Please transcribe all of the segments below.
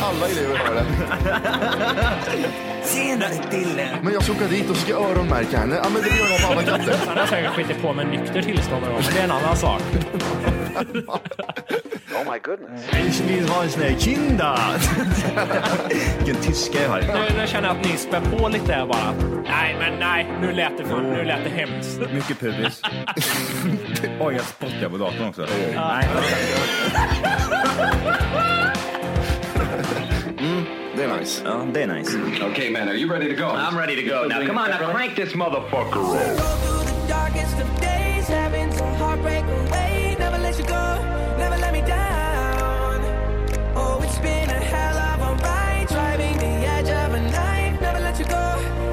Alla elever har det. Tjena Dille! Men jag ska åka dit och ska öronmärka henne. Ja, men det gör jag på alla katter. Han har säkert skitit på med nykter tillstånd och men det är en annan sak. Oh my goodness. Ich vill ha en sån här Kinder! Vilken tyska jag har. Nu, nu känner jag att ni spär på lite här bara. Nej, men nej, nu lät det, för, nu lät det hemskt. Mycket pubis. Oj, jag spottar på datorn också. Nej. Det är nice. Ja, det är nice. Okay, man, are you ready to go? I'm ready to go. Now, come on, now crank this motherfucker up. Go through the darkest of days, having some heartbreak away. Never let you go, never let me down. Oh, it's been a hell of a ride, driving the edge of a knife. Never let you go,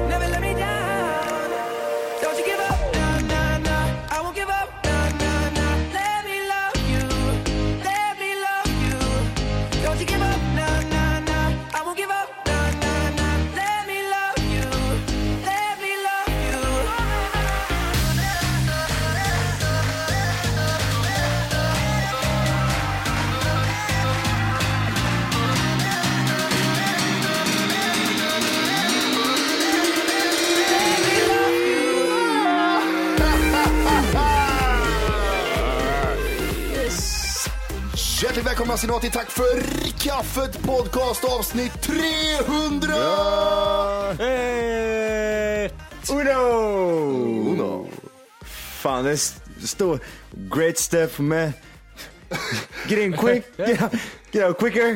never let me down. Don't you give up, nah, nah, nah. I won't give up, nah, nah, nah. Let me love you, let me love you. Don't you give up, nah, nah, nah. I won't give up, nah, nah, nah. Let me love you, let me love you. Hjärtligt välkomna ska ni vara till Tack för kaffet podcast avsnitt 300! Uno! Uno. Fan, det står Great Step med... Get in quick! Get out, get out quicker!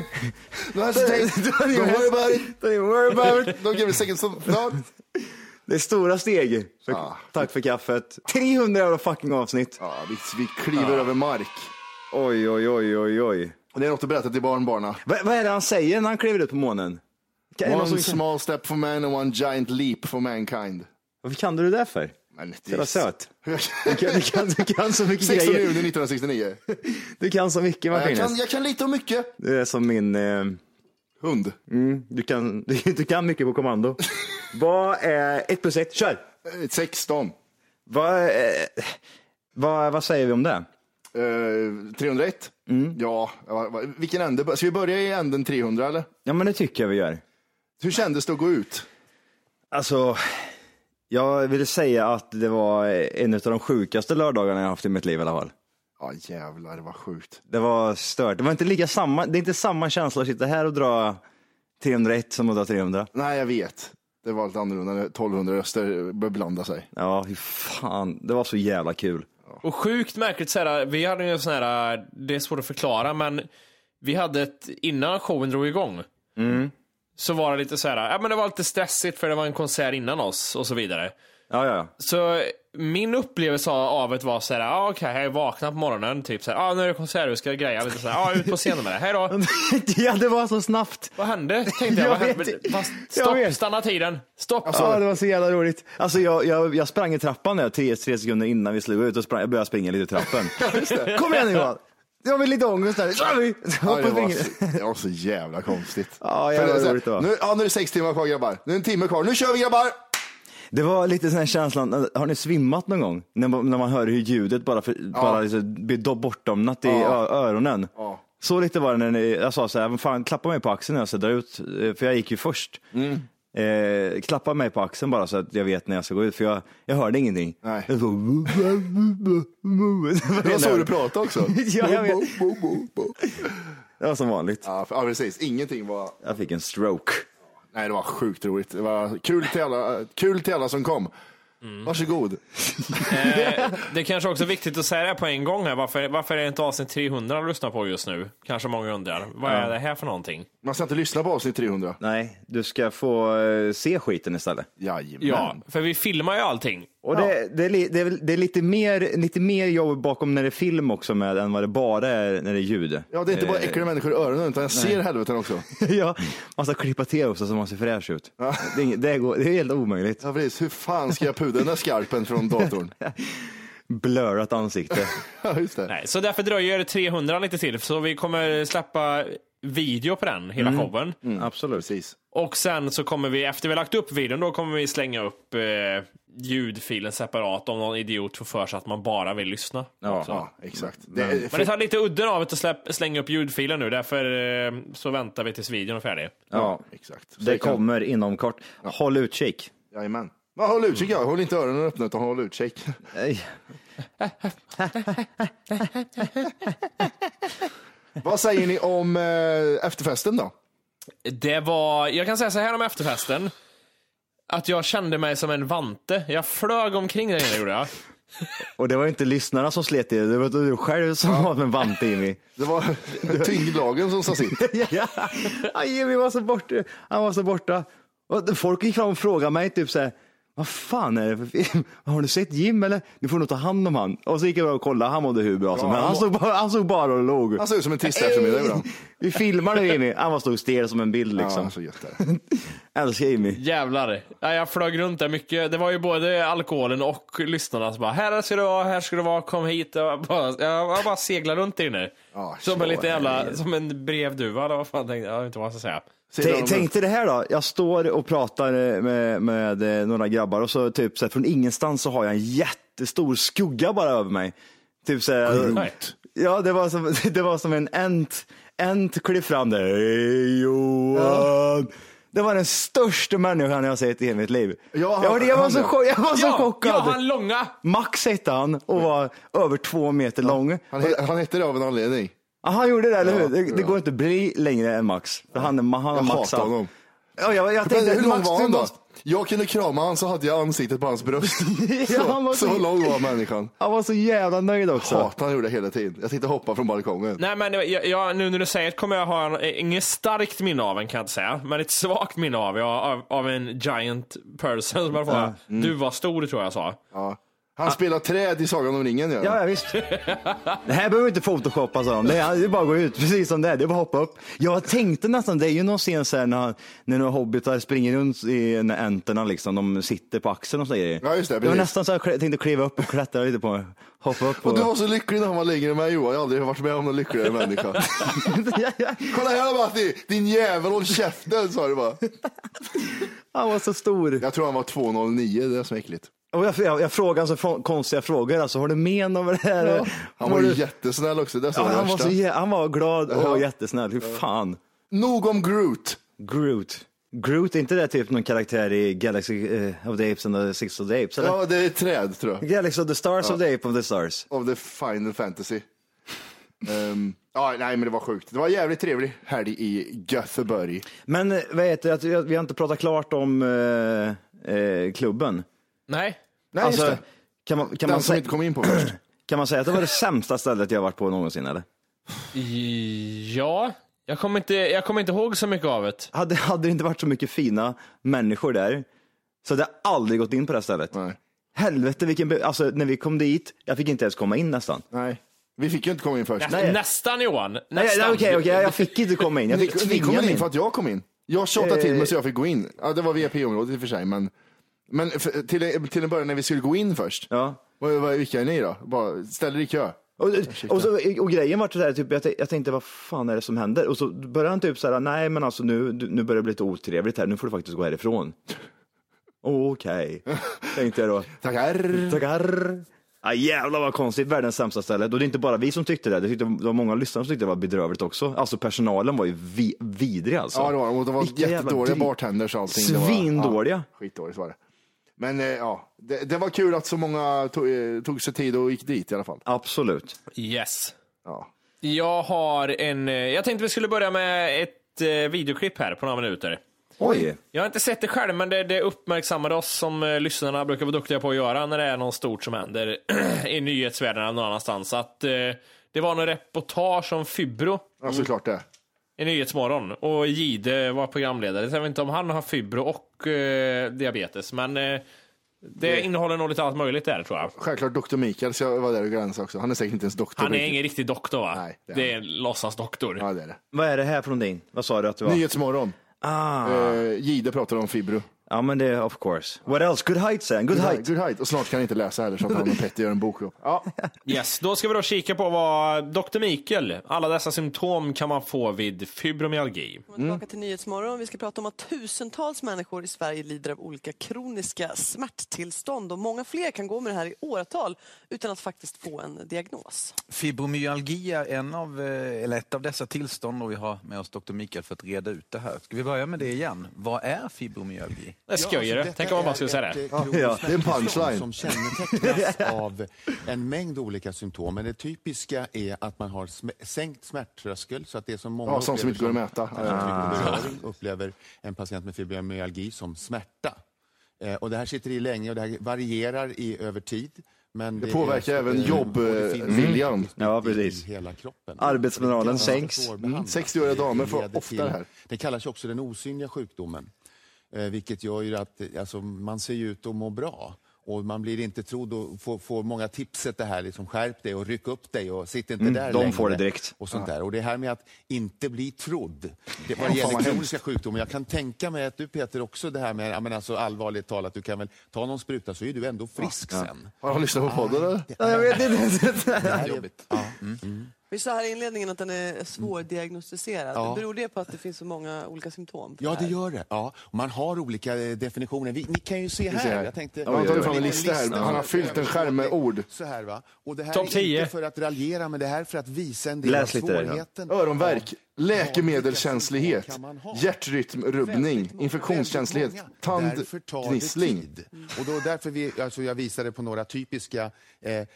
Nu har jag tänkt, don't worry about it. Don't even worry about it! Don't give me a second so thought. Det är stora steg. För, Ja. Tack för kaffet. 300 jävla fucking avsnitt. Ja, vi, vi kliver över mark. Ah. Oj, oj, oj, oj, oj. Och det är något att berätta till barnbarna. Va, vad är det han säger när han kliver ut på månen? Kan, är det någon One som, small step for man and one giant leap for mankind. varför kan du det där för? Men det Jävla söt. Du kan, du, kan, du kan så mycket 16 juni grejer. 1969. Du kan så mycket Jag kan, Martinez. jag kan lite om mycket. Du är som min... Eh, Hund. mm, du, kan, du, du kan mycket på kommando. vad är ett plus ett? Kör! Eh, 16. Vad, eh, vad, vad säger vi om det? Eh, 301? Mm. Ja, va- va- vilken ände? Ska vi börja i änden 300 eller? Ja, men det tycker jag vi gör. Hur kändes det att gå ut? Alltså, jag vill säga att det var en av de sjukaste lördagarna jag haft i mitt liv i alla fall. Ja jävlar, det var sjukt. Det var stört. Det var inte lika samma, det är inte samma känsla att sitta här och dra 301 som att dra 300. Nej, jag vet. Det var lite annorlunda när 1200 röster började blanda sig. Ja, hur fan. Det var så jävla kul. Och sjukt märkligt så här, vi hade ju en sån här, det är svårt att förklara, men vi hade ett, innan showen drog igång, så var det lite så här, ja men det var lite stressigt för det var en konsert innan oss och så vidare. Ja, ja, ja. Så min upplevelse av det var så här, ah, okej, jag vaknade på morgonen, typ så här, ah, nu är det konsert, vi ska greja lite så här, ah, ut på scenen med det, hej då. ja, det var så snabbt. Vad hände? Tänkte jag, Jag vad vet hände? inte. Fast, Jag Stopp, vet. stanna tiden. Stopp. Ja, det var så jävla roligt. Alltså, jag, jag, jag sprang i trappan där, tre, tre sekunder innan vi slog ut och sprang, jag började springa lite i trappen. Kom igen nu Johan! Jag har lite ångest där. Kör vi! Ja, Hoppa det, och var, spring. så- det var så jävla konstigt. Ja, jävlar För vad så här, roligt det var. Nu, ja, nu är det sex timmar kvar grabbar. Nu är det en timme kvar. Nu kör vi grabbar! Det var lite den här känslan, eh, har ni svimmat någon gång? När man, när man hör hur ljudet bara, för, bara liksom blir do- bortdomnat i Ja. ö- öronen. Ja. Så lite var det när ni, jag sa så här, "Men fan klappa mig på axeln när jag ska dra ut, eh, för jag gick ju först. Mm. Eh, klappa mig på axeln bara så att jag vet när jag ska gå ut, för jag, jag hörde ingenting. Nej. Jag så, Det var så du pratade också. Ja, jag vet. Bo, bo, bo, bo. Det var som vanligt. Ja, för- ja, precis. Ingenting var... Jag fick en stroke. Nej, det var sjukt roligt. Det var kul till alla, kul till alla som kom. Mm. Varsågod. Det kanske också är viktigt att säga det här på en gång här. Varför, varför är det inte avsnitt 300 att lyssna på just nu? Kanske många undrar. Vad är det här för någonting? Man ska inte lyssna på avsnitt 300. Nej, du ska få eh, se skiten istället. Jajamän. Ja, för vi filmar ju allting. Och det, det, är li- det, är, väl- det är lite mer, lite mer jobb bakom när det är film också med än vad det bara är när det är ljud. ja, det är inte bara Eh, äckliga människor i öronen, utan jag ser helveten också. ja, man ska klippa till också så man ser fräsch ut. Det, är inget- det, går, det är helt omöjligt. Ja, precis. Hur fan ska jag pudra den där skarpen från datorn? Blörat Mm. ansikte. Ja, just det. Nej, så därför dröjer det 300 lite till. Så vi kommer släppa video på den, hela Mm. showen. Absolut. Precis. Och sen så kommer vi, efter vi har lagt upp videon, då kommer vi slänga upp eh, ljudfilen separat om någon idiot får för sig att man bara vill lyssna. Ja, också. Ja, exakt. Det är, Men det tar lite udden av att släpp, slänga upp ljudfilen nu, därför eh, så väntar vi tills videon är färdig. ja. exakt. Så Det kan- kommer inom kort. Håll utkik. Jajamän. Men håll utkik, ja. Håll inte öronen öppna, utan håll utkik. Nej. Vad säger ni om eh, efterfesten då? Det var, jag kan säga så här om efterfesten. Att jag kände mig som en vante. Jag flög omkring där inne gjorde jag. Och det var inte lyssnarna som slet i det, det var du själv som var med vante Jimmy. Det var tyngdlagen som sa sitt. ja. Ja, Jimmy var så borta. Han var så borta. Och folk gick fram och frågade mig typ så här, vad fan är det för film? Har du sett Jim eller? Du får nog ta hand om han. Och så gick jag bara och kollade, han mådde hur bra som Ja, helst. Han, han stod bara- han såg bara och log. Han såg ut som en trist eftermiddag ibland. Vi filmar nu Jimmy. Han var stod stel som en bild liksom. Ja, så gött det. Älskar Jimmy. Jävlar. Ja, jag flög runt där mycket. Det var ju både alkoholen och lyssnarna som bara, här ska du vara, här ska du vara, kom hit. Jag bara, jag jag bara seglade runt där inne. Ja, som så en lite jävla, är det. som en brevduva. eller Vad fan tänkte jag, jag vet inte vad jag ska säga. Säger Tänk, de- tänk dig det här då, jag står och pratar eh, med, med eh, några grabbar och så typ så här, från ingenstans så har jag en jättestor skugga bara över mig. Typ så här, Sjukt. Ja, det var som, det var som en ent, ent klev fram där. Hej Johan! Det var den största människan jag har sett i hela mitt liv. Ja, han- jag, var, jag var han så, ja. chock, jag var så chockad. ja, han långa! Max hette han och var över två meter lång. Han, he- han hette det av en anledning. Ja, han gjorde det, eller hur? Ja, Det, det ja. går inte att bli längre än Max. För han, han, han Jag Max hatar honom. Ja, jag, jag Men tänkte, hur lång Max, var du han då? måste- Jag kunde krama han så hade jag ansiktet på hans bröst. Ja, han var så, så så- lång var människan. Han var så jävla nöjd också. Hatar han gjorde det hela tiden. Jag tänkte hoppa från balkongen. Nej men jag, jag, nu när du säger det kommer jag ha en, inget starkt minne av en kan jag inte säga, men ett svagt minne av, jag, av, av en giant person som jag får, Mm. du var stor tror jag jag sa. Ja. Han spelar träd i Sagan om ringen. gör han. Ah. Ja, ja visst. Det här behöver vi inte photoshoppa sa de. Det är det är bara att gå ut precis som det är. Det är bara att hoppa upp. Jag tänkte nästan, det är ju någon scen så här när, när några hobbitar springer runt i när enterna liksom. De sitter på axeln och så grejer. Ja, just det, Det var precis. nästan så här, jag tänkte kliva upp och klättra lite på mig. Hoppa upp. Och du var så lycklig när han var längre än mig Johan. Jag har aldrig varit med om någon lyckligare människa. Kolla här Matti, din jävel håll käften sa du bara. Han var så stor. Jag tror han var 209, det är så äckligt. Och jag, jag, jag frågade så frå- konstiga frågor. Alltså, har du men över det här? Han Har var du- ju jättesnäll också, det är så ja, det han, var värsta. så jä- han var glad och Ja. jättesnäll. Hur fan? Nog om Groot. Groot. Groot, är inte det typ någon karaktär i Galaxy eh, of the Apes and the Six of the Apes? Eller? Ja, det är ett träd tror jag. Galaxy of the Stars of the Ape of the Stars. Of the Final Fantasy. Ehm, ja, nej men det var sjukt. Det var en jävligt trevlig helg i Göteborg. Men eh, vad heter det, att vi vi har inte pratat klart om eh, eh, klubben. Nej. Nej, just det. kan, Alltså, man, kan, Den som vi man säga, inte kom in på först. kan man säga att det var det sämsta stället jag varit på någonsin eller? Ja, jag kommer, inte, jag kommer inte ihåg så mycket av det. Hade, hade det inte varit så mycket fina människor där så hade jag aldrig gått in på det här stället. Nej. Helvete vilken, be- alltså när vi kom dit, jag fick inte ens komma in nästan. nej. Vi fick ju inte komma in först. Nej. Nästan Johan. Nästan. Nej, nej, okej, okej, jag fick inte komma in. Jag Ni, fick ni tvinga kom mig in in. för att jag kom in. Jag tjatade till mig så jag fick gå in. Ja, det var VIP-området i och för sig, men, men för, till, till en början när vi skulle gå in först. Ja. Vad, vad, vilka är ni då? Bara ställ er i kö. Och, och, så, och grejen var sådär, typ, jag, t- jag tänkte vad fan är det som händer? Och så började han typ såhär, nej men alltså nu, du- nu börjar det bli lite otrevligt här, nu får du faktiskt gå härifrån. Okej, tänkte jag då. Tackar. Tackar. Ja, jävlar vad konstigt, världens sämsta ställe. Och det är inte bara vi som tyckte det, det, tyckte, det var många lyssnare som tyckte det var bedrövligt också. Alltså personalen var ju vi, vidrig alltså. Ja, det var de. Och det var Vilka jävla jättedåliga dyr- bartenders och allting. Det var, Svindåliga. ja, skitdåligt var det. Men eh, ja, det, det var kul att så många tog, eh, tog sig tid och gick dit i alla fall. Absolut. Yes. Ja. Jag har en... eh, Jag tänkte vi skulle börja med ett eh, videoklipp här på några minuter. Oj. Jag har inte sett det själv, men det, det uppmärksammade oss som eh, lyssnarna brukar vara duktiga på att göra när det är något stort som händer i nyhetsvärlden eller någon annanstans. Att, eh, det var något reportage om Fybro Ja, såklart det. i Nyhetsmorgon och Gide var programledare. Jag vet inte om han har fibro och eh, diabetes, men eh, det innehåller nog lite allt möjligt där tror jag. Självklart doktor Mikael ska vara där och glänsa också. Han är säkert inte ens doktor. Han är riktigt. ingen riktig doktor va? Nej, det är det är han. en låtsasdoktor. Ja, det är det. Vad är det här från din? Vad sa du att det var? Nyhetsmorgon. Ah. Eh, Gide pratar om fibro. Ja men det är of course. What else? Good height sen. Good height. Good height. Och snart kan han inte läsa heller så att han och Petter gör en bok ihop. Ja, Yes, då ska vi då kika på vad Dr. Mikael, alla dessa symptom kan man få vid fibromyalgi. Välkommen Mm. tillbaka till Nyhetsmorgon. Vi ska prata om att tusentals människor i Sverige lider av olika kroniska smärttillstånd och många fler kan gå med det här i åratal utan att faktiskt få en diagnos. Fibromyalgi är en av, eh, eller ett av dessa tillstånd och vi har med oss Dr. Mikael för att reda ut det här. Ska vi börja med det igen? Vad är fibromyalgi? Det är alltså, skojare. Tänk om man bara skulle säga eh, det. Ja, det är en punchline. som kännetecknas av en mängd olika symptom. Men det typiska är att man har sm- sänkt smärttröskel så att det är som många Ja, sånt som inte går att mäta. upplever, beröring, upplever en patient med fibromyalgi som smärta. Eh, och det här sitter i länge och det här varierar i, över tid. Men det, är- påverkar även eh, jobbviljan. och det Mm. finns Ja, i precis. hela kroppen. Arbetsmoralen Det kan sänks. vara svårbehandlat. 60-åriga Mm. damer får Det leder ofta till- det här. Det kallas ju också den osynliga sjukdomen. Eh, vilket gör ju att eh, alltså, man ser ju ut att må bra. Och man blir inte trodd och får, får många tipset det här, liksom skärp dig och ryck upp dig och sitt Mm, inte där de längre. får det direkt. Och, sånt där. och det här med att inte bli trodd, det, vad fan, det gäller vad kroniska sjukdomar. Jag kan tänka mig att du Peter också det här med, ja, men alltså, allvarligt talat, du kan väl ta någon spruta så är du ändå frisk sen. Har han lyssnat på podden eller? Ja, jag vet inte. Det här Ah, är jobbigt. Ja. Vi sa här i inledningen att den är svårdiagnostiserad. Ja. Beror det på att det finns så många olika symptom? på Ja, det här? gör det. Ja. och Man har olika eh, definitioner. Vi, ni kan ju se här. här. Jag tänkte, Ja, vi har tagit fram en liten lista här. Han har fyllt en skärm med ord. Så här, va? Och det här Topp är 10. inte för att raljera, men det här är för att visa en del Läs av lite där, ja. svårigheten. Öronvärk, läkemedelskänslighet, Kan man ha? hjärtrytmrubbning, infektionskänslighet, Väldigt många. Därför tar det tandgnissling. tid. Och då därför vi, alltså jag visade på några typiska, eh,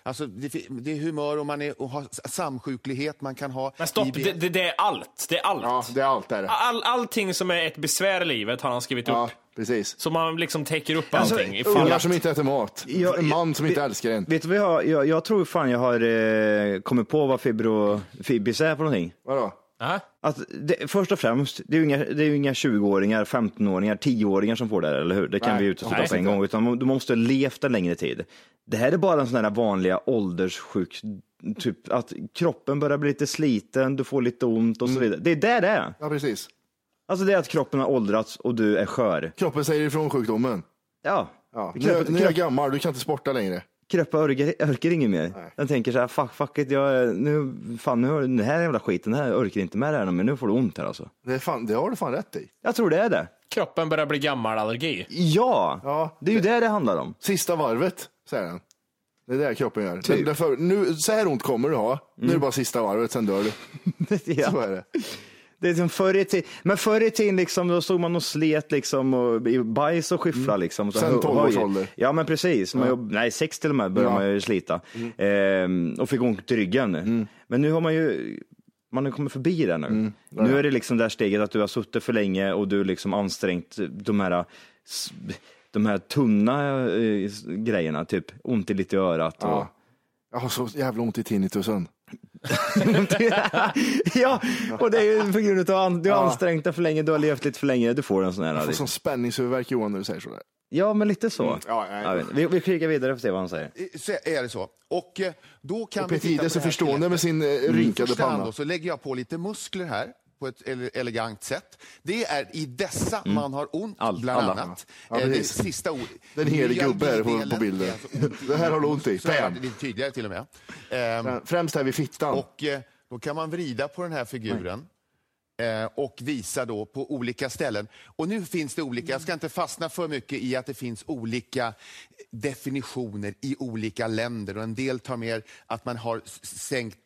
alltså det, fi- det är humör och man är, och har s- samsjuklighet, man kan ha... Men stopp, IBS. det, det, det är allt. Det är allt. Ja, det är allt Ah, där. All, allting som är ett besvär i livet har han skrivit Ja, upp. precis. Så man liksom täcker upp Alltså, allting. ifall Ungar att, som inte äter mat, Ja, en man som inte vi- älskar en. Vet du vad jag har? Jag, jag tror fan jag har eh, kommit på vad fibro, fibris är för någonting. Vadå? Aha. Att det, först och främst, det är ju inga, det är ju inga 20-åringar, 15-åringar, 10-åringar som får det här, eller hur? Det kan Nej, vi utesluta nej. på en gång, utan du måste ha levt en längre tid. Det här är bara en sån här vanliga ålderssjuk, typ att kroppen börjar bli lite sliten, du får lite ont Mm. och så vidare. Det är där det är. Ja, precis. Alltså det är att kroppen har åldrats och du är skör. Kroppen säger ifrån sjukdomen. Ja, Ja. Nu, kroppen, nu är jag kroppen, gammal, du kan inte sporta längre. kroppen orkar, orkar inget mer. Den tänker så här, fuck, fuck it, jag, är- nu, fan, nu, har- den här jävla skiten, den här orkar inte med det här, men nu får du ont här alltså. Det, är fan, det har du fan rätt i. Jag tror det är det. Kroppen börjar bli gammal-allergi. Ja, Ja, det är ju det det handlar om. Sista varvet, säger den. Det är det kroppen gör. Typ. Den, därför, nu, så här ont kommer du ha. Nu är det bara sista varvet, sen dör du. Så ja. är det. det är som förr i tiden, men förr i tiden liksom, då stod man och slet liksom, och i bajs och skyffla. Liksom, och så, Mm. Sen hoj- 12 års hoj. ålder. Ja men precis, man jobb, nej sex till och med började Ja. Mm. man ju slita. Ehm, och fick ont i ryggen. Men nu har man ju man har kommit förbi det nu. Mm. Nu är det liksom det här steget att du har suttit för länge och du liksom ansträngt de här, s- de här tunna eh, s- grejerna, typ ont i lite i örat. Och, Ja. Jag har så jävla ont i tinnitusen. ja, och det är ju på grund av att du har ansträngt dig för länge, du har levt lite för länge, du får en sån här. Jag får liksom. sån spänningshuvudvärk Johan när du säger sådär. Ja, men lite så. Mm. Ja, nej. Jag vet inte. vi, vi kikar vidare och ser vad han säger. Så är det så. Och eh, då kan Och vi Peter titta Jihde är på så det här förstående med skelettet. sin eh, Mm. rynkade första hand panna. Då, så lägger jag på lite muskler här på ett ele- elegant sätt. Det är i dessa man har ont, All- bland alla. annat. Ja, Eh, det precis. sista ord. Den helige gubbe är på, på Myalgidelen är bilden. alltså ont i- Det här har du ont i. Så här, Bam! Lite tydligare till och med. Ehm, Främst här vid fittan. och eh, då kan man vrida på den här figuren eh, och visa då på olika ställen. Och nu finns det olika, jag ska inte fastna för mycket i att det finns olika definitioner i olika länder och en del tar mer att man har s- sänkt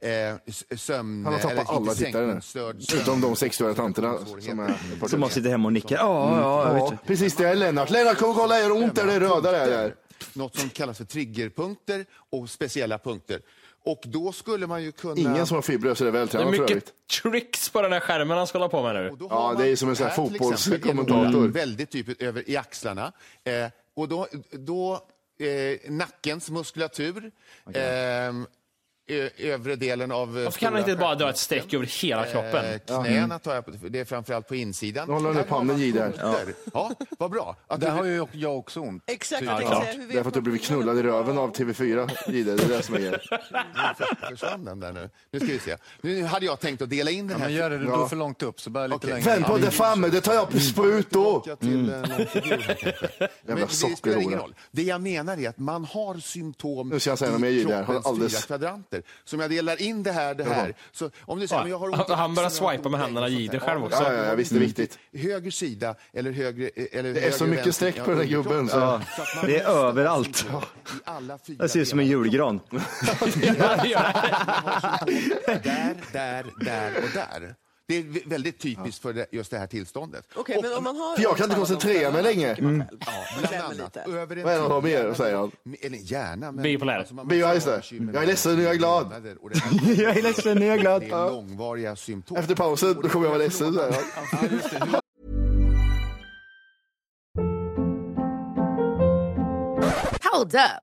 eh, s- sömn... Han har tappat eller inte alla sänkt, tittare nu. men störd sömn. Utom de 60-åriga tanterna som är Som bara sitter hemma och nickar. Ja, ja, jag vet Ja, inte. precis det är Lennart. Lennart kom och kolla, gör det ont där, det är röda det är där. Något som kallas för triggerpunkter och speciella punkter. Och då skulle man ju kunna... Ingen som har fibrös är Det är vältränad för övrigt. mycket tricks på den här skärmen han ska hålla på med nu. har Ja, det är man som en sån här här till exempel genom fotbollskommentator. den Väldigt typ över i axlarna. Eh, och då, då eh, nackens muskulatur, ehm, ö, övre delen av... Varför kan han inte bara dra ett streck över hela Eh, kroppen? Knäna tar jag på, det är framförallt på insidan. Nu håller han upp handen i där. Ja. ja, vad bra. Att Där du- har ju jag också ont. Exakt, Ja, jag tänkte klart. säga, hur vet Därför att du man- blivit knullad i röven av TV4, Gide. Det är det som är grejen. försvann den där nu. Nu ska vi se. Nu hade jag tänkt att dela in den Ja, här. men gör det, du Ja. går för långt upp så bara lite Okej. längre. Vänd på det framme, det tar jag på sprut då. tillbaka till eh, någon figur här, kanske. Men det spelar ingen sockerhora. roll. Det jag menar är att man har symptom Nu ska jag säga något mer, i Julia. Jag har kroppens alldeles- fyra kvadranter. Så om jag delar in det här, det här. Så om du säger, men jag har ont i Han- han börjar axeln, jag har ont swipa med i händerna, ryggen, Gider sånt där. själv också. Ja, ja, ja, Mm. visst, det är viktigt. Höger sida eller högre... eh, Eller Det är så mycket streck på den här gubben, så- Det är överallt. Det ser ut som en julgran. där, där, där och där. Det är väldigt typiskt för det- just det här tillståndet. Okej, men om man har... För jag kan inte koncentrera mig längre. Mm. Ja, Klämmer bland annat. lite. Över en Vad är det han har tid. mer, säger han? Eller gärna. Men, Bipolär. man Bio, måste just ha det. bekymmer Jag är ledsen, nu är jag glad. månader och det här- Jag är ledsen, nu är jag glad. Det är Ja. långvariga symptom. Efter pausen, då kommer jag vara ledsen. Så här. Hold up.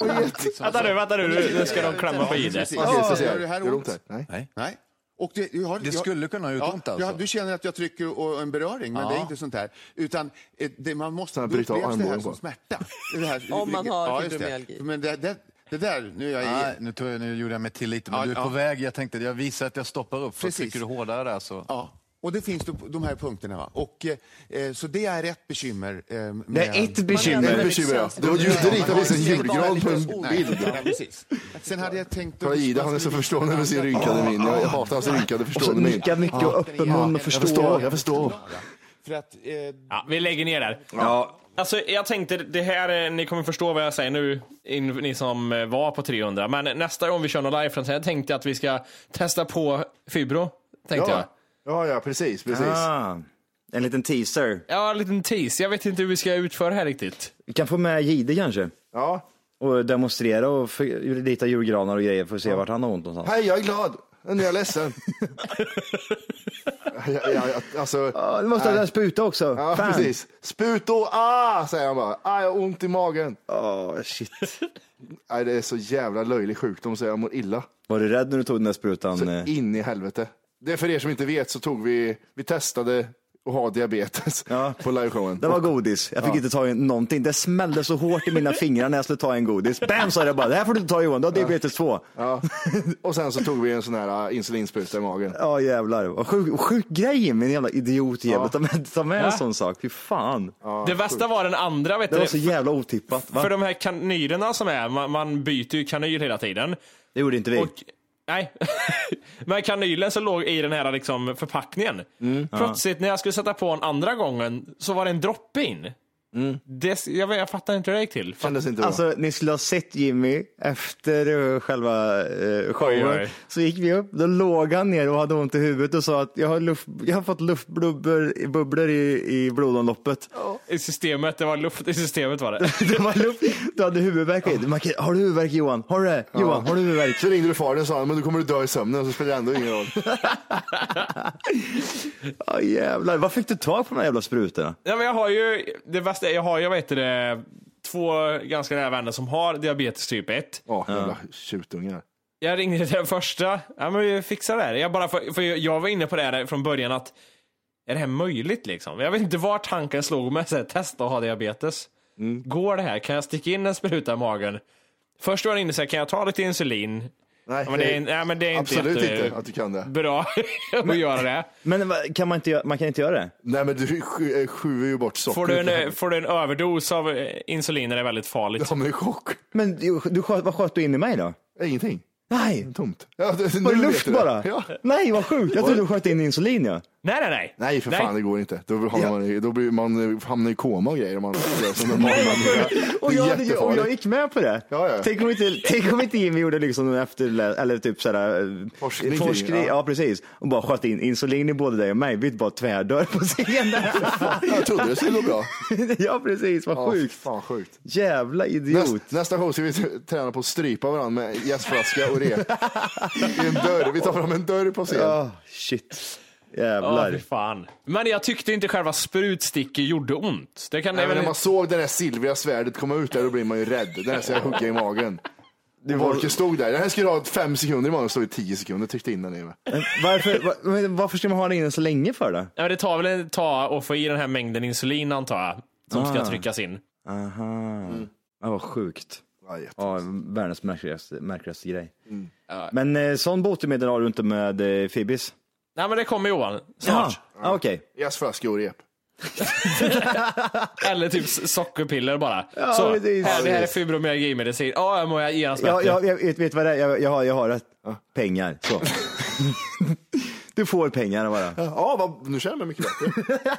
Vänta nu, vänta nu, nu, nu ska de klämma på Ide. Precis. Okej, så ser Gör jag. det här Gör det ont ont? här? Nej. Nej. Nej. Och det, jag har, Det skulle kunna ha gjort ont alltså. jag- Du känner att jag trycker och en beröring, men det är inte sånt här. Utan eh, det, man måste Sen då bryta av upplevs det här armbågen som bara. smärta. Det här, Om man har just det. fibromyalgi. Men det, det, det där, nu är jag Nej, i... nu, tog jag, nu gjorde jag mig till lite, men Ja, du är ja. på väg. Jag tänkte jag visar att jag stoppar upp, för Precis. trycker du hårdare där så... Ja. Och det finns då de här punkterna. Va? Och, eh, så det är ett bekymmer. Eh, med, Det är ett Det bekymmer. är bekymmer, ja. Det var ju inte riktigt precis en julgran på en Nej, bild. nej, precis. Sen hade jag tänkt... Kolla Ida, han är så förstående med sin rynkade min. Jag hatar hans rynkade Och så förstående min. nickar mycket och öppen mun och Jag förstår, förstår. jag förstår. För att, eh, Ja, vi lägger ner där. Ja, Alltså, jag tänkte, det här, eh, ni kommer förstå vad jag säger nu, in- ni som eh, var på 300. Men eh, nästa gång vi kör något live från så här tänkte jag att vi ska testa på fibro. Tänkte jag. Ja, ja, ja precis, precis. Ah, en liten teaser. Ja, en liten tease. Jag vet inte hur vi ska utföra det här riktigt. Vi kan få med Jihde kanske. Ja. Och demonstrera och för- rita julgranar och grejer för att se vart han har ont någonstans. Hej, jag är glad. Nu är jag ledsen. jag, jag, jag, alltså, Ja, du måste ha den spruta också. ja, Ah, Fan. precis. Sputor, ah, säger han bara. Ah, jag har ont i magen. Ja, shit. Nej, det är så jävla löjlig sjukdom så jag mår illa. Var du rädd när du tog den där sprutan? Så Eh, in i helvete. Det är för er som inte vet så tog vi, vi testade att ha diabetes Ja. på liveshowen. Det var godis. Jag fick inte ta in någonting. Det smällde så hårt i mina fingrar när jag skulle ta en godis. Bam sa det bara, det här får du inte ta Johan, du har diabetes 2. Ja. Och sen så tog vi en sån här äh, insulinspruta i magen. Ja jävlar. Vad Sjuk, sjuk grej min jävla idiot jävel. Ta med, ta med en sån sak, fy fan. det värsta var den andra, vet Det du. var så jävla otippat. Va? För de här kanylerna som är, man, man byter ju kanyl hela tiden. Det gjorde inte vi. Och, nej. Men kanylen som låg i den här liksom förpackningen. Mm. Plötsligt när jag skulle sätta på en andra gången så var det en droppe in. Mm. Det, jag, vet- jag fattar inte hur det gick till. Kändes inte bra. Alltså ni skulle ha sett Jimmy efter eh, själva eh, showen. Oj, oj. Så gick vi upp, då låg han ner och hade ont i huvudet och sa att jag har, luft, jag har fått luftbubblor bubblor i, i blodomloppet. I systemet, det var luft i systemet var det. Det var luft, du hade huvudvärk. Du markerade, Har du huvudvärk Johan? Har du det? Johan, har du huvudvärk? Så ringde du faren och sa men du kommer du dö i sömnen och så spelar det ändå ingen roll. Ja jävlar, vad fick du tag på de här jävla sprutorna? Ja, men jag har ju, det värsta, jag har ju, vad heter det, två ganska nära vänner som har diabetes typ 1. Ja, jävla tjutungar. Jag ringde till den första. Ja men vi fixar det här. Jag, bara, för, för jag var inne på det här från början att är det här möjligt liksom? Jag vet inte var tanken slog mig. Så här, testa att ha diabetes. Mm. Går det här? Kan jag sticka in en spruta i magen? Först var jag inne så här, kan jag ta lite insulin? Nej, ja, men det är, nej, men det är inte Absolut jätte- inte att du kan det. Bra att göra det. Men va- kan man, inte, göra- man kan inte göra det? Nej, men du sk- eh, skjuter ju bort sockret. Får du, en, eh, får du en överdos av eh, insulin är det väldigt farligt. Ja, men i chock. Men du, du, sköt- vad sköt du in i mig då? Ingenting. Nej! Tomt. Ja, det, nu Var det vet luft du bara? Ja. Nej, vad sjukt! Jag trodde du sköt in insulin ja. Nej, nej, nej. Nej, för fan, det går inte. Då, hamnar Ja. man, i- då blir man, eh, hamnar i koma och grejer. om Man, som en man, man, Och det är jag, hade- och jag jättefarligt. gick med på det. Ja, ja. Tänk, om inte, tänk om inte Jimmy gjorde liksom någon efter, eller typ såhär, Forskning kring, forskning, ja. ja. precis. Och bara sköt in insulin i både dig och mig. Vi bara tvärdör på scenen. Jag trodde det skulle gå bra. ja precis, vad Ja, sjukt. Fan, sjukt. Jävla idiot. Näst, nästa gång ska vi t- träna på att strypa varandra med gästflaska och rep. I en dörr. Vi tar fram en dörr på scen. Ja, Ah, shit. Ja, Jävlar. fy fan. Men jag tyckte inte själva sprutsticket gjorde ont. Det kan Nej, men även... när man såg det där silvriga svärdet komma ut där, då blir man ju rädd. Den där ska jag hugga i magen. Det var- Volker stod där. Den här skulle ha fem sekunder i magen, stod i tio sekunder. Tryckte in den i mig. Men varför, va- men varför ska man ha den inne så länge för då? Nej, men det tar väl ett tag att få i den här mängden insulin antar jag. Som Ah. ska tryckas in. Aha. Ja, vad sjukt. Ja, jätte- Ja, världens märkligaste, märkligaste grej. Men eh, sån botemedel har du inte med eh, Fibis? Nej men det kommer Johan. Snart. Ja, ah, okej. Gästflaska och rep. Eller typ s- sockerpiller bara. Ja, Så, precis. här, det här är Precis. fibromyalgimedicin. Ja, jag mår genast Ja, bättre. jag, jag vet, vet vad det är, jag, jag har, jag har det. Pengar. Så. du får pengar bara. Ja, vad, nu känner jag mig mycket bättre.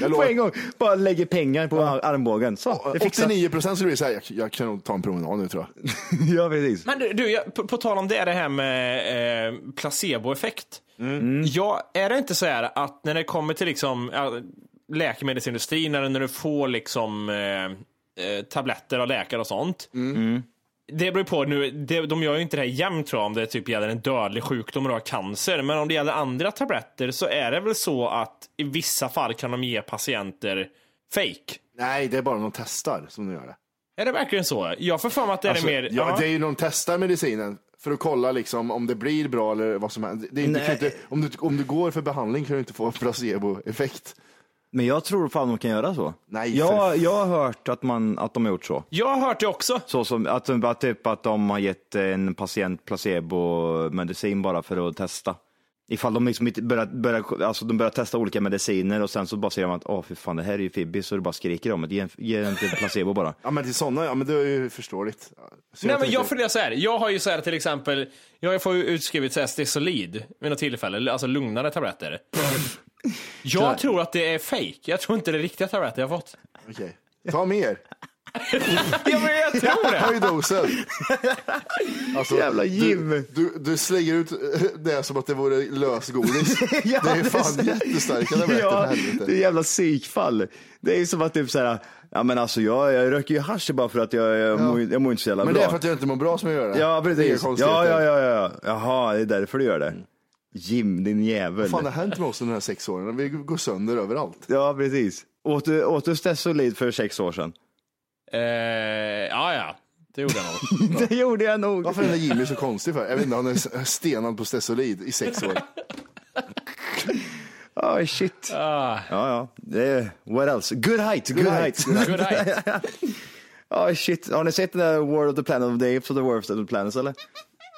Jag På lovar. en gång, bara lägger pengar på ar- armbågen. Så, det fixar 89 procent skulle bli så här, jag, jag kan nog ta en promenad nu tror jag. Ja, precis. Men du, du jag, på, på tal om det, det här med eh, placeboeffekt. Mm. Ja, är det inte så här att när det kommer till liksom, ja, läkemedelsindustrin eller när du får liksom, eh, eh, tabletter av läkare och sånt. Mm. Det beror på nu, det, de gör ju inte det här jämt tror jag, om det typ gäller en dödlig sjukdom och du har cancer. Men om det gäller andra tabletter så är det väl så att i vissa fall kan de ge patienter fake. Nej, det är bara när de testar som de gör det. Är det verkligen så? Jag får för mig att det Alltså, är mer... ja, det är ju när de testar medicinen för att kolla liksom, om det blir bra eller vad som händer. Det är inte, Nej. kan inte, om, du, om du går för behandling kan du inte få placeboeffekt. Men jag tror fan de kan göra så. Nej, jag, för- jag har hört att, man, att de har gjort så. Jag har hört det också. Så som att, de- att, typ, att de har gett en patient placebo-medicin bara för att testa. Ifall de liksom inte börjar, börjar, alltså de börjar testa olika mediciner och sen så bara ser de att åh fy fan det här är ju fibbis så du bara skriker om det. Ge, en- ge den till placebo bara. Ja, men till sådana, ja men det är ju förståeligt. Så Nej, jag men tänkte- jag funderar så här. Jag har ju så här till exempel, jag får ju utskrivet så här Stesolid vid något tillfälle, alltså lugnare tabletter. jag tror att det är fake. Jag tror inte det är riktiga tabletter jag har fått. Okej. Ta mer, Ja, men jag tror det. höj dosen. Alltså, Jävla Du, Jim. du, du slänger ut det som att det vore lösgodis. Ja, det är det är fan så- jättestarka tabletter för Ja, det är helvete. jävla psykfall. Det är ju som att typ såhär, ja men alltså jag, jag röker ju hasch bara för att jag, jag, mår, jag mår inte så jävla Men det bra. är för att jag inte mår bra som jag gör det. Ja Det är precis. konstigheter. Ja, ja, ja, ja. Jaha, det är därför du gör det. Jim, din jävel. Vad fan har hänt med oss under de här sex åren? Vi går sönder överallt. Ja, precis. Åt du, åt du Stesolid för sex år sedan? Eh, ja, ja. Det gjorde jag nog. Det gjorde jag nog. Varför är den där Jimmy så konstig för? Jag vet inte, han är stenad på Stesolid i sex år. Oh, shit. Ah, Ja, ja. Det är, what else? Good height, good, height. good night. Ja, shit. Har ni sett den där War of the Planet of the Apes och The War of the Planets eller?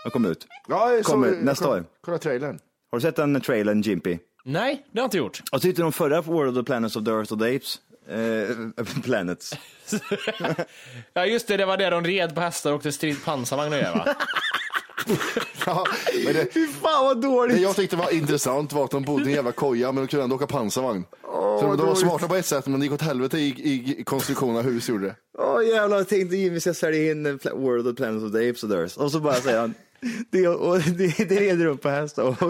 Den kom ut. Ja, jag såg- Kommer nästa kolla- år. Kolla trailern. Har du sett den trailern, Jimpy? Nej, det har jag inte gjort. Vad tyckte du om förra War of the Planets of the Earth of the Apes? Eh, planets. Ja, just det. Det var det de red på hästar och åkte strid pansarvagn och grejer, va? Ja, men det, Fy fan vad Det dåligt! jag tyckte var intressant var att de bodde i en jävla koja men de kunde ändå åka pansarvagn. så de, de var dåligt. smarta på ett sätt men det gick åt helvete i, i, i konstruktionen av hus gjorde det. Åh jävlar, jag tänkte Jimmy ska sälja in en pla- World of Planets of the Apes och Durs. Och så bara säger han, det, och, det, det reder upp på hästar och,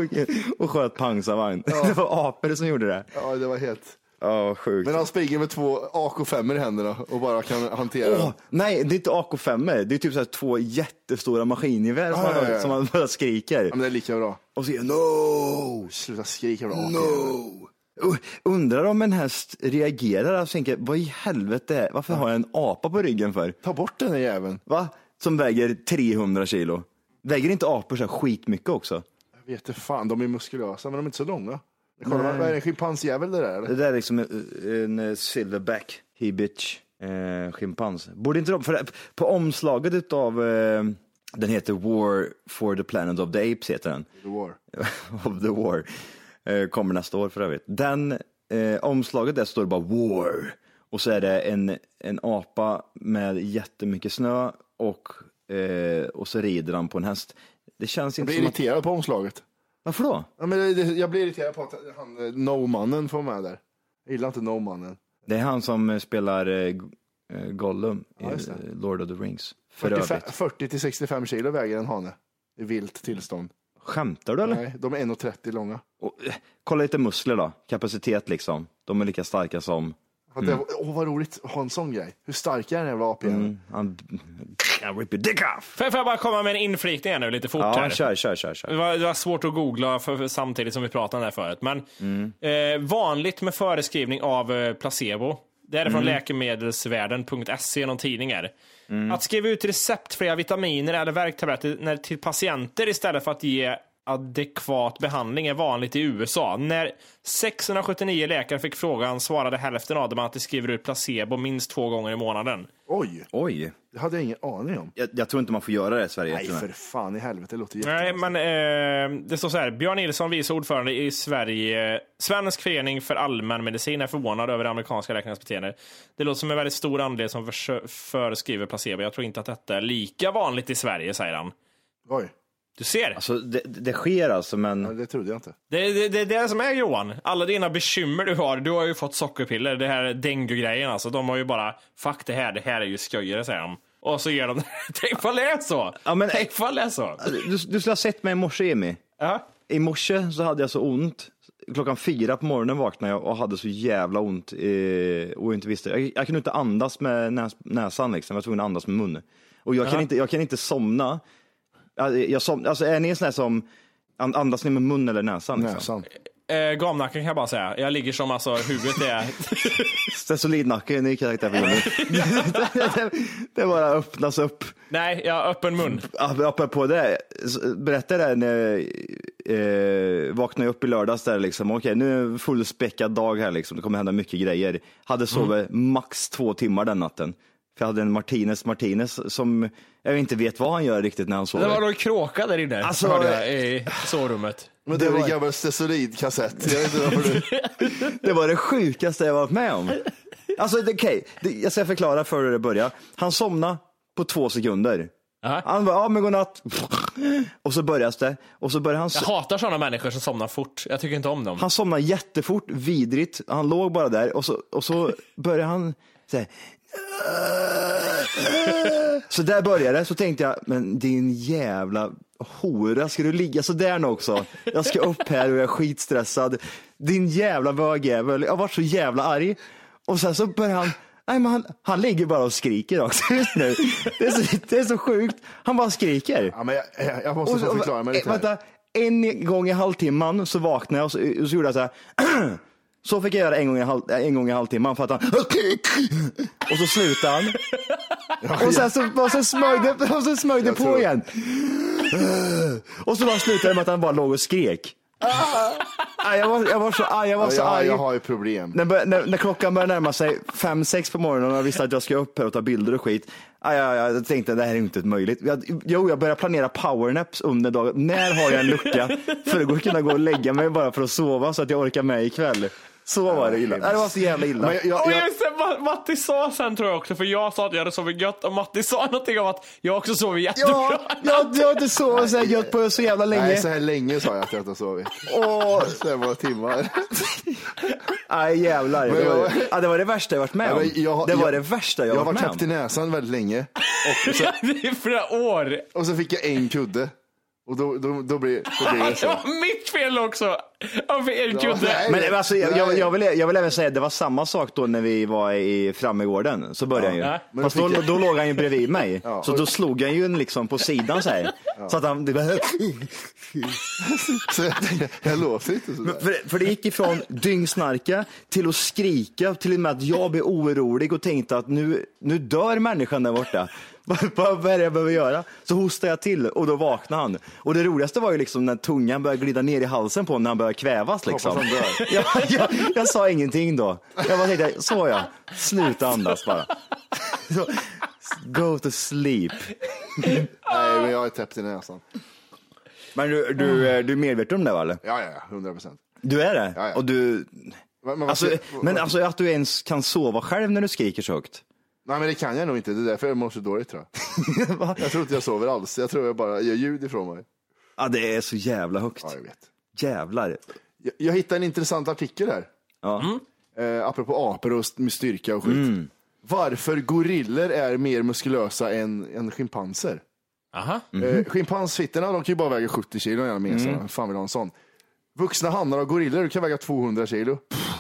och sköt pansarvagn. Det var apor som gjorde det. alltså, Ja, det var helt... Ja, sjukt. Men han springer med två AK5 i händerna och bara kan hantera Åh, dem. nej, det är inte AK5, det är typ så här två jättestora maskingevär som, Ja, ja, man- ja. som man bara skriker. Ja, men det är lika bra. Och så säger jag, no, Sluta skrika bra. no. U- Undrar om en häst reagerar och tänker, vad i helvete, är- varför har jag en apa på ryggen för? Ta bort den här jäveln. Va? Som väger 300 kilo. Väger inte apor så här skitmycket också? Jag vet inte fan, de är muskulösa men de är inte så långa. Kolla, Nej. vad är det en schimpansjävel det där eller? Det där är liksom en, en silverback, he-bitch, eh, schimpans. Borde inte de, för på omslaget utav, eh, den heter War for the Planet of the Apes heter den. The War. of the War. Eh, kommer nästa år för övrigt. Den, eh, omslaget där står det bara War. Och så är det en, en apa med jättemycket snö och, eh, och så rider han på en häst. Det känns Jag inte blir som att... irriterad på omslaget. Varför då? Ja, men det- det- jag blir irriterad på att han, eh, no-mannen får med där. Jag gillar inte no-mannen. Det är han som eh, spelar eh, G- eh, Gollum Ja, i just det. eh, Lord of the Rings. För 45 övrigt. 40 till 65 kilo väger en hane i vilt tillstånd. Skämtar du eller? Nej, de är 1,30 långa. Och, eh, kolla lite muskler då, kapacitet liksom. De är lika starka som... Åh, mm. oh, vad roligt att ha en sån grej. Hur stark är den jävla apan? Mm, han, han rip your dick off! Får jag- får jag bara komma med en inflikning här nu lite fort? Ja, här? kör, kör, kör. Det kör. var, det var svårt att googla för, för, samtidigt som vi pratade om det här förut. Men eh, vanligt med föreskrivning av eh, placebo. Det här är från Mm. läkemedelsvärden.se, E någon tidning är. Att skriva ut receptfria vitaminer eller värktabletter när, till patienter istället för att ge adekvat behandling är vanligt i USA. När 679 läkare fick frågan svarade hälften av dem att de skriver ut placebo minst två gånger i månaden. Oj, Oj. det hade jag ingen aning om. Jag, jag tror inte man får göra det i Sverige. Nej, till och med. för fan i helvete. Det låter jätte... Nej, men eh, det står så här. Björn Nilsson, vice ordförande i Sverige, Svensk förening för allmänmedicin, är förvånad över det amerikanska läkarnas beteende. Det låter som en väldigt stor andel som försö- förskriver placebo. Jag tror inte att detta är lika vanligt i Sverige, säger han. Oj. Du ser, Alltså, det, det sker alltså, men... det trodde jag inte. det, det, det, det är det som är Johan. Alla dina bekymmer du har, du har ju fått sockerpiller, det här dengue-grejen alltså. De har ju bara, fuck det här, det här är ju skojare, säger de. Och så ger de, tänk vad det är så! Ja, men- tänk vad det är så! Alltså, Du, du skulle ha sett mig i morse, Jimmy. I morse så hade jag så ont. Klockan fyra på morgonen vaknade jag och hade så jävla ont eh, och inte visste. Jag, jag kunde inte andas med näs, näsan, liksom. jag var tvungen att andas med munnen. Och jag kan, Jaha. inte, jag kan inte somna. Jag, jag som, alltså, är ni en sån här som an- andas ni med mun eller näsan? Liksom? Näsan. Eh, gamnacken kan jag bara säga. Jag ligger som alltså huvudet är... Stesolidnacke, ny karaktär på Jimmy. det, det bara öppnas upp. Nej, jag har öppen mun. Apropå det, så berättade jag det när jag eh, vaknade upp i lördags där liksom, okej nu är det en fullspäckad dag här liksom, det kommer hända mycket grejer. Hade Mm. sovit max två timmar den natten. För jag hade en Martinez Martinez som jag inte vet vad han gör riktigt när han sover. Det var då kråka där inne, Alltså, hörde jag, i sovrummet. Men det var en gammal stesolidkassett. Jag vet inte varför du... Det var det sjukaste jag varit med om. Alltså det- okej, Det- jag ska förklara för hur det började. Han somnade på två sekunder. Han bara, ja men godnatt. Och så börjas det. Och så börjar han Jag hatar sådana människor som somnar fort. Jag tycker inte om dem. Han somnade jättefort, vidrigt. Han låg bara där och så, och så började han så här. Så där började det. Så tänkte jag, men din jävla hora, ska du ligga så där nu också? Jag ska upp här och jag är skitstressad. Din jävla bögjävel. Jag var så jävla arg. Och sen så började han, nej men han, han ligger bara och skriker också just nu. Det är så, det är så sjukt. Han bara skriker. Ja, men jag, jag- jag måste få Och så- förklara mig eh, lite här. Vänta, en gång i halvtimman så vaknade jag och så, och så gjorde jag så här. Så fick jag göra en gång i, halv, en gång i halvtimman för att han... Och så slutade han. Och sen, så, och sen smög det, och sen smög det Jag på tror- igen. Och så bara slutade det med att han bara låg och skrek. Ah, Jag var, jag var så arg. Jag var Ja, så jag, har- arg. jag har ju problem. När, bör- när, när klockan började närma sig fem sex på morgonen och jag visste att jag ska upp här och ta bilder och skit. Aj, aj, aj, jag tänkte det här är inte möjligt. Jag, jo, jag började planera powernaps under dagen. När har jag en lucka för att gå- kunna gå och lägga mig bara för att sova så att jag orkar med ikväll? Så var det illa. Nej, Det var så jävla illa. Men jag, jag, Och jag, just det, Ma- Matti sa sen tror jag också, för jag sa att jag hade sovit gött och Matti sa någonting om att jag också sovit jättebra. Ja, jag, jag har inte sovit så här gött på så jävla länge. nej, så här länge sa jag att jag inte har sovit. Åh, Så här många timmar. aj, jävlar. Men Det var, jag- ja, det var det värsta jag varit med Ja, om. men jag- det var jag- det värsta jag, Jag har varit varit med täppt i om. näsan väldigt länge. Och så, Det är flera år. och så fick jag en kudde. Och då, då, då, blir, då blir det Det så. var mitt fel också. Ja, för er kudde. nej. Men alltså, jag, jag, jag, vill, jag vill även säga att det var samma sak då när vi var i Frammegården. Så började Ja. han Ja. ju. Fast då, då låg han ju bredvid mig. Ja. Så då slog han ju en liksom på sidan så här. Så att han, det bara, så jag, jag låter inte sådär. för, för det gick ifrån dyngsnarka till att skrika till och med att jag blev orolig och tänkte att nu, nu dör människan där borta. Vad- Vad vad är det jag behöver göra? Så hostar jag till och då vaknar han. Och det roligaste var ju liksom när tungan började glida ner i halsen på honom när han började kvävas. Liksom. Hoppas han dör. jag, jag, jag sa ingenting då. Jag bara tänkte, så ja, sluta andas bara. Så, go to sleep. Nej, men jag är täppt i näsan. Men du, du, eh, du är medveten om det va? eller? Ja, ja, ja, 100 procent. Du är det? Ja, ja. Och du... Men, men, Alltså, vad- men alltså att du ens kan sova själv när du skriker så högt. Nej, men det kan jag nog inte. Det är därför jag mår så dåligt tror jag. jag tror inte jag sover alls. Jag tror jag bara gör ljud ifrån mig. Ja, det är så jävla högt. Ja, jag vet. Jävlar. Jag, jag hittade en intressant artikel här. Ja. Eh, apropå apor och st- med styrka och skit. Varför gorillor är mer muskulösa än, än schimpanser. Aha. Eh, Schimpansfittorna de kan ju bara väga 70 kilo jävla mesarna. Mm. fan vill ha en sån? Vuxna hannar och gorillor kan väga 200 kilo. Pff.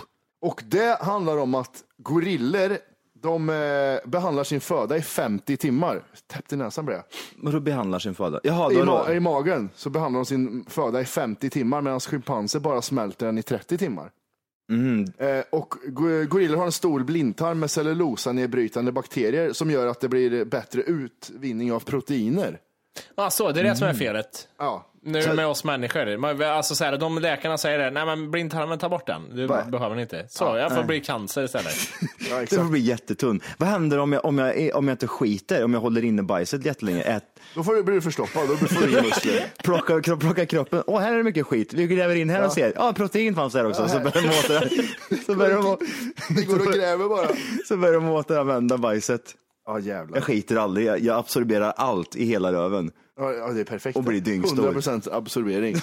Och det handlar om att gorillor de eh, behandlar sin föda i 50 timmar. Täppt i näsan blev jag. Men då behandlar sin föda? Jaha, I, då, ma- I magen så behandlar de sin föda i 50 timmar medan schimpanser bara smälter den i 30 timmar. Mm. Eh, och go- gorillor har en stor blindtarm med cellulosanedbrytande bakterier som gör att det blir bättre utvinning av proteiner. Ah, så, det är det som är felet. Ja. Nu med oss människor. Man- Alltså så här, de läkarna säger det, nej men blindtarmen, ta bort den. Du Bara- behöver den inte. Så, jag får bli cancer istället. Ja, det får bli jättetunn. Vad händer om jag, om, jag, är- om jag inte skiter, om jag håller inne bajset jättelänge? Ät, Då får du, blir du förstoppad, då får du inga muskler. plockar, kro- plockar kroppen, åh här är det mycket skit, vi gräver in här och ser, ja protein fanns där också. Så börjar de åter- så börjar de å- Det går och gräver bara. så börjar de återanvända bajset. Ja Jag jävlar. skiter aldrig, jag, jag absorberar allt i hela röven. Ja, ja, det är perfekt. Och blir dyngstor. 100% absorbering.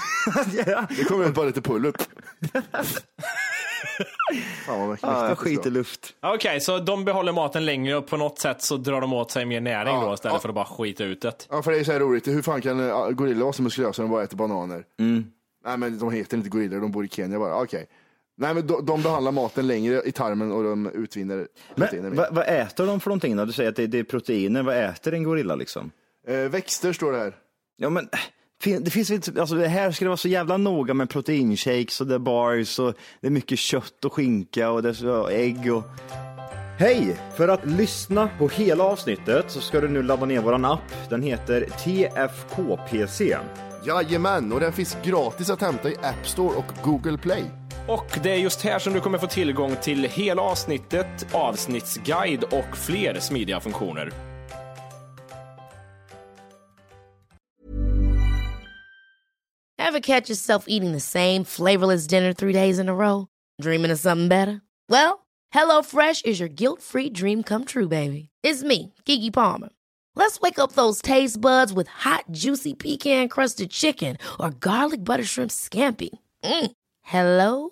Det kommer ut bara lite pull-up. Fan vad mäktigt Ja, det jag ska. skiter luft. Ja, Okej, så de behåller maten längre och på något sätt så drar de åt sig mer näring då istället för att bara skita ut det. Ja, för det är så här roligt. Hur fan kan eh, gorillor vara så muskulösa när de bara äter bananer? Nej, men de heter inte gorillor, de bor i Kenya bara. Okej. Nej, men de, de behandlar maten längre i tarmen och de utvinner proteiner Men, mer. vad, vad äter de för någonting då? Du säger att det, det är proteiner, vad äter en gorilla liksom? Eh, växter står det här. Ja men fin- det finns väl inte, alltså det här ska det vara så jävla noga med proteinshakes och det är bars och det är mycket kött och skinka och det är så, ägg och... Hej! För att lyssna på hela avsnittet så ska du nu ladda ner våran app. Den heter TFKPC. Jajamän, och den finns gratis att hämta i App Store och Google Play. Och det är just här som du kommer få tillgång till hela avsnittet, avsnittsguide och fler smidiga funktioner. Ever catch yourself eating the same flavorless dinner three days in a row? Dreaming of something better? Well, HelloFresh is your guilt free dream come true, baby. It's me, Gigi Palmer. Let's wake up those taste buds with hot, juicy pecan crusted chicken or garlic butter shrimp scampi. Mm. Hello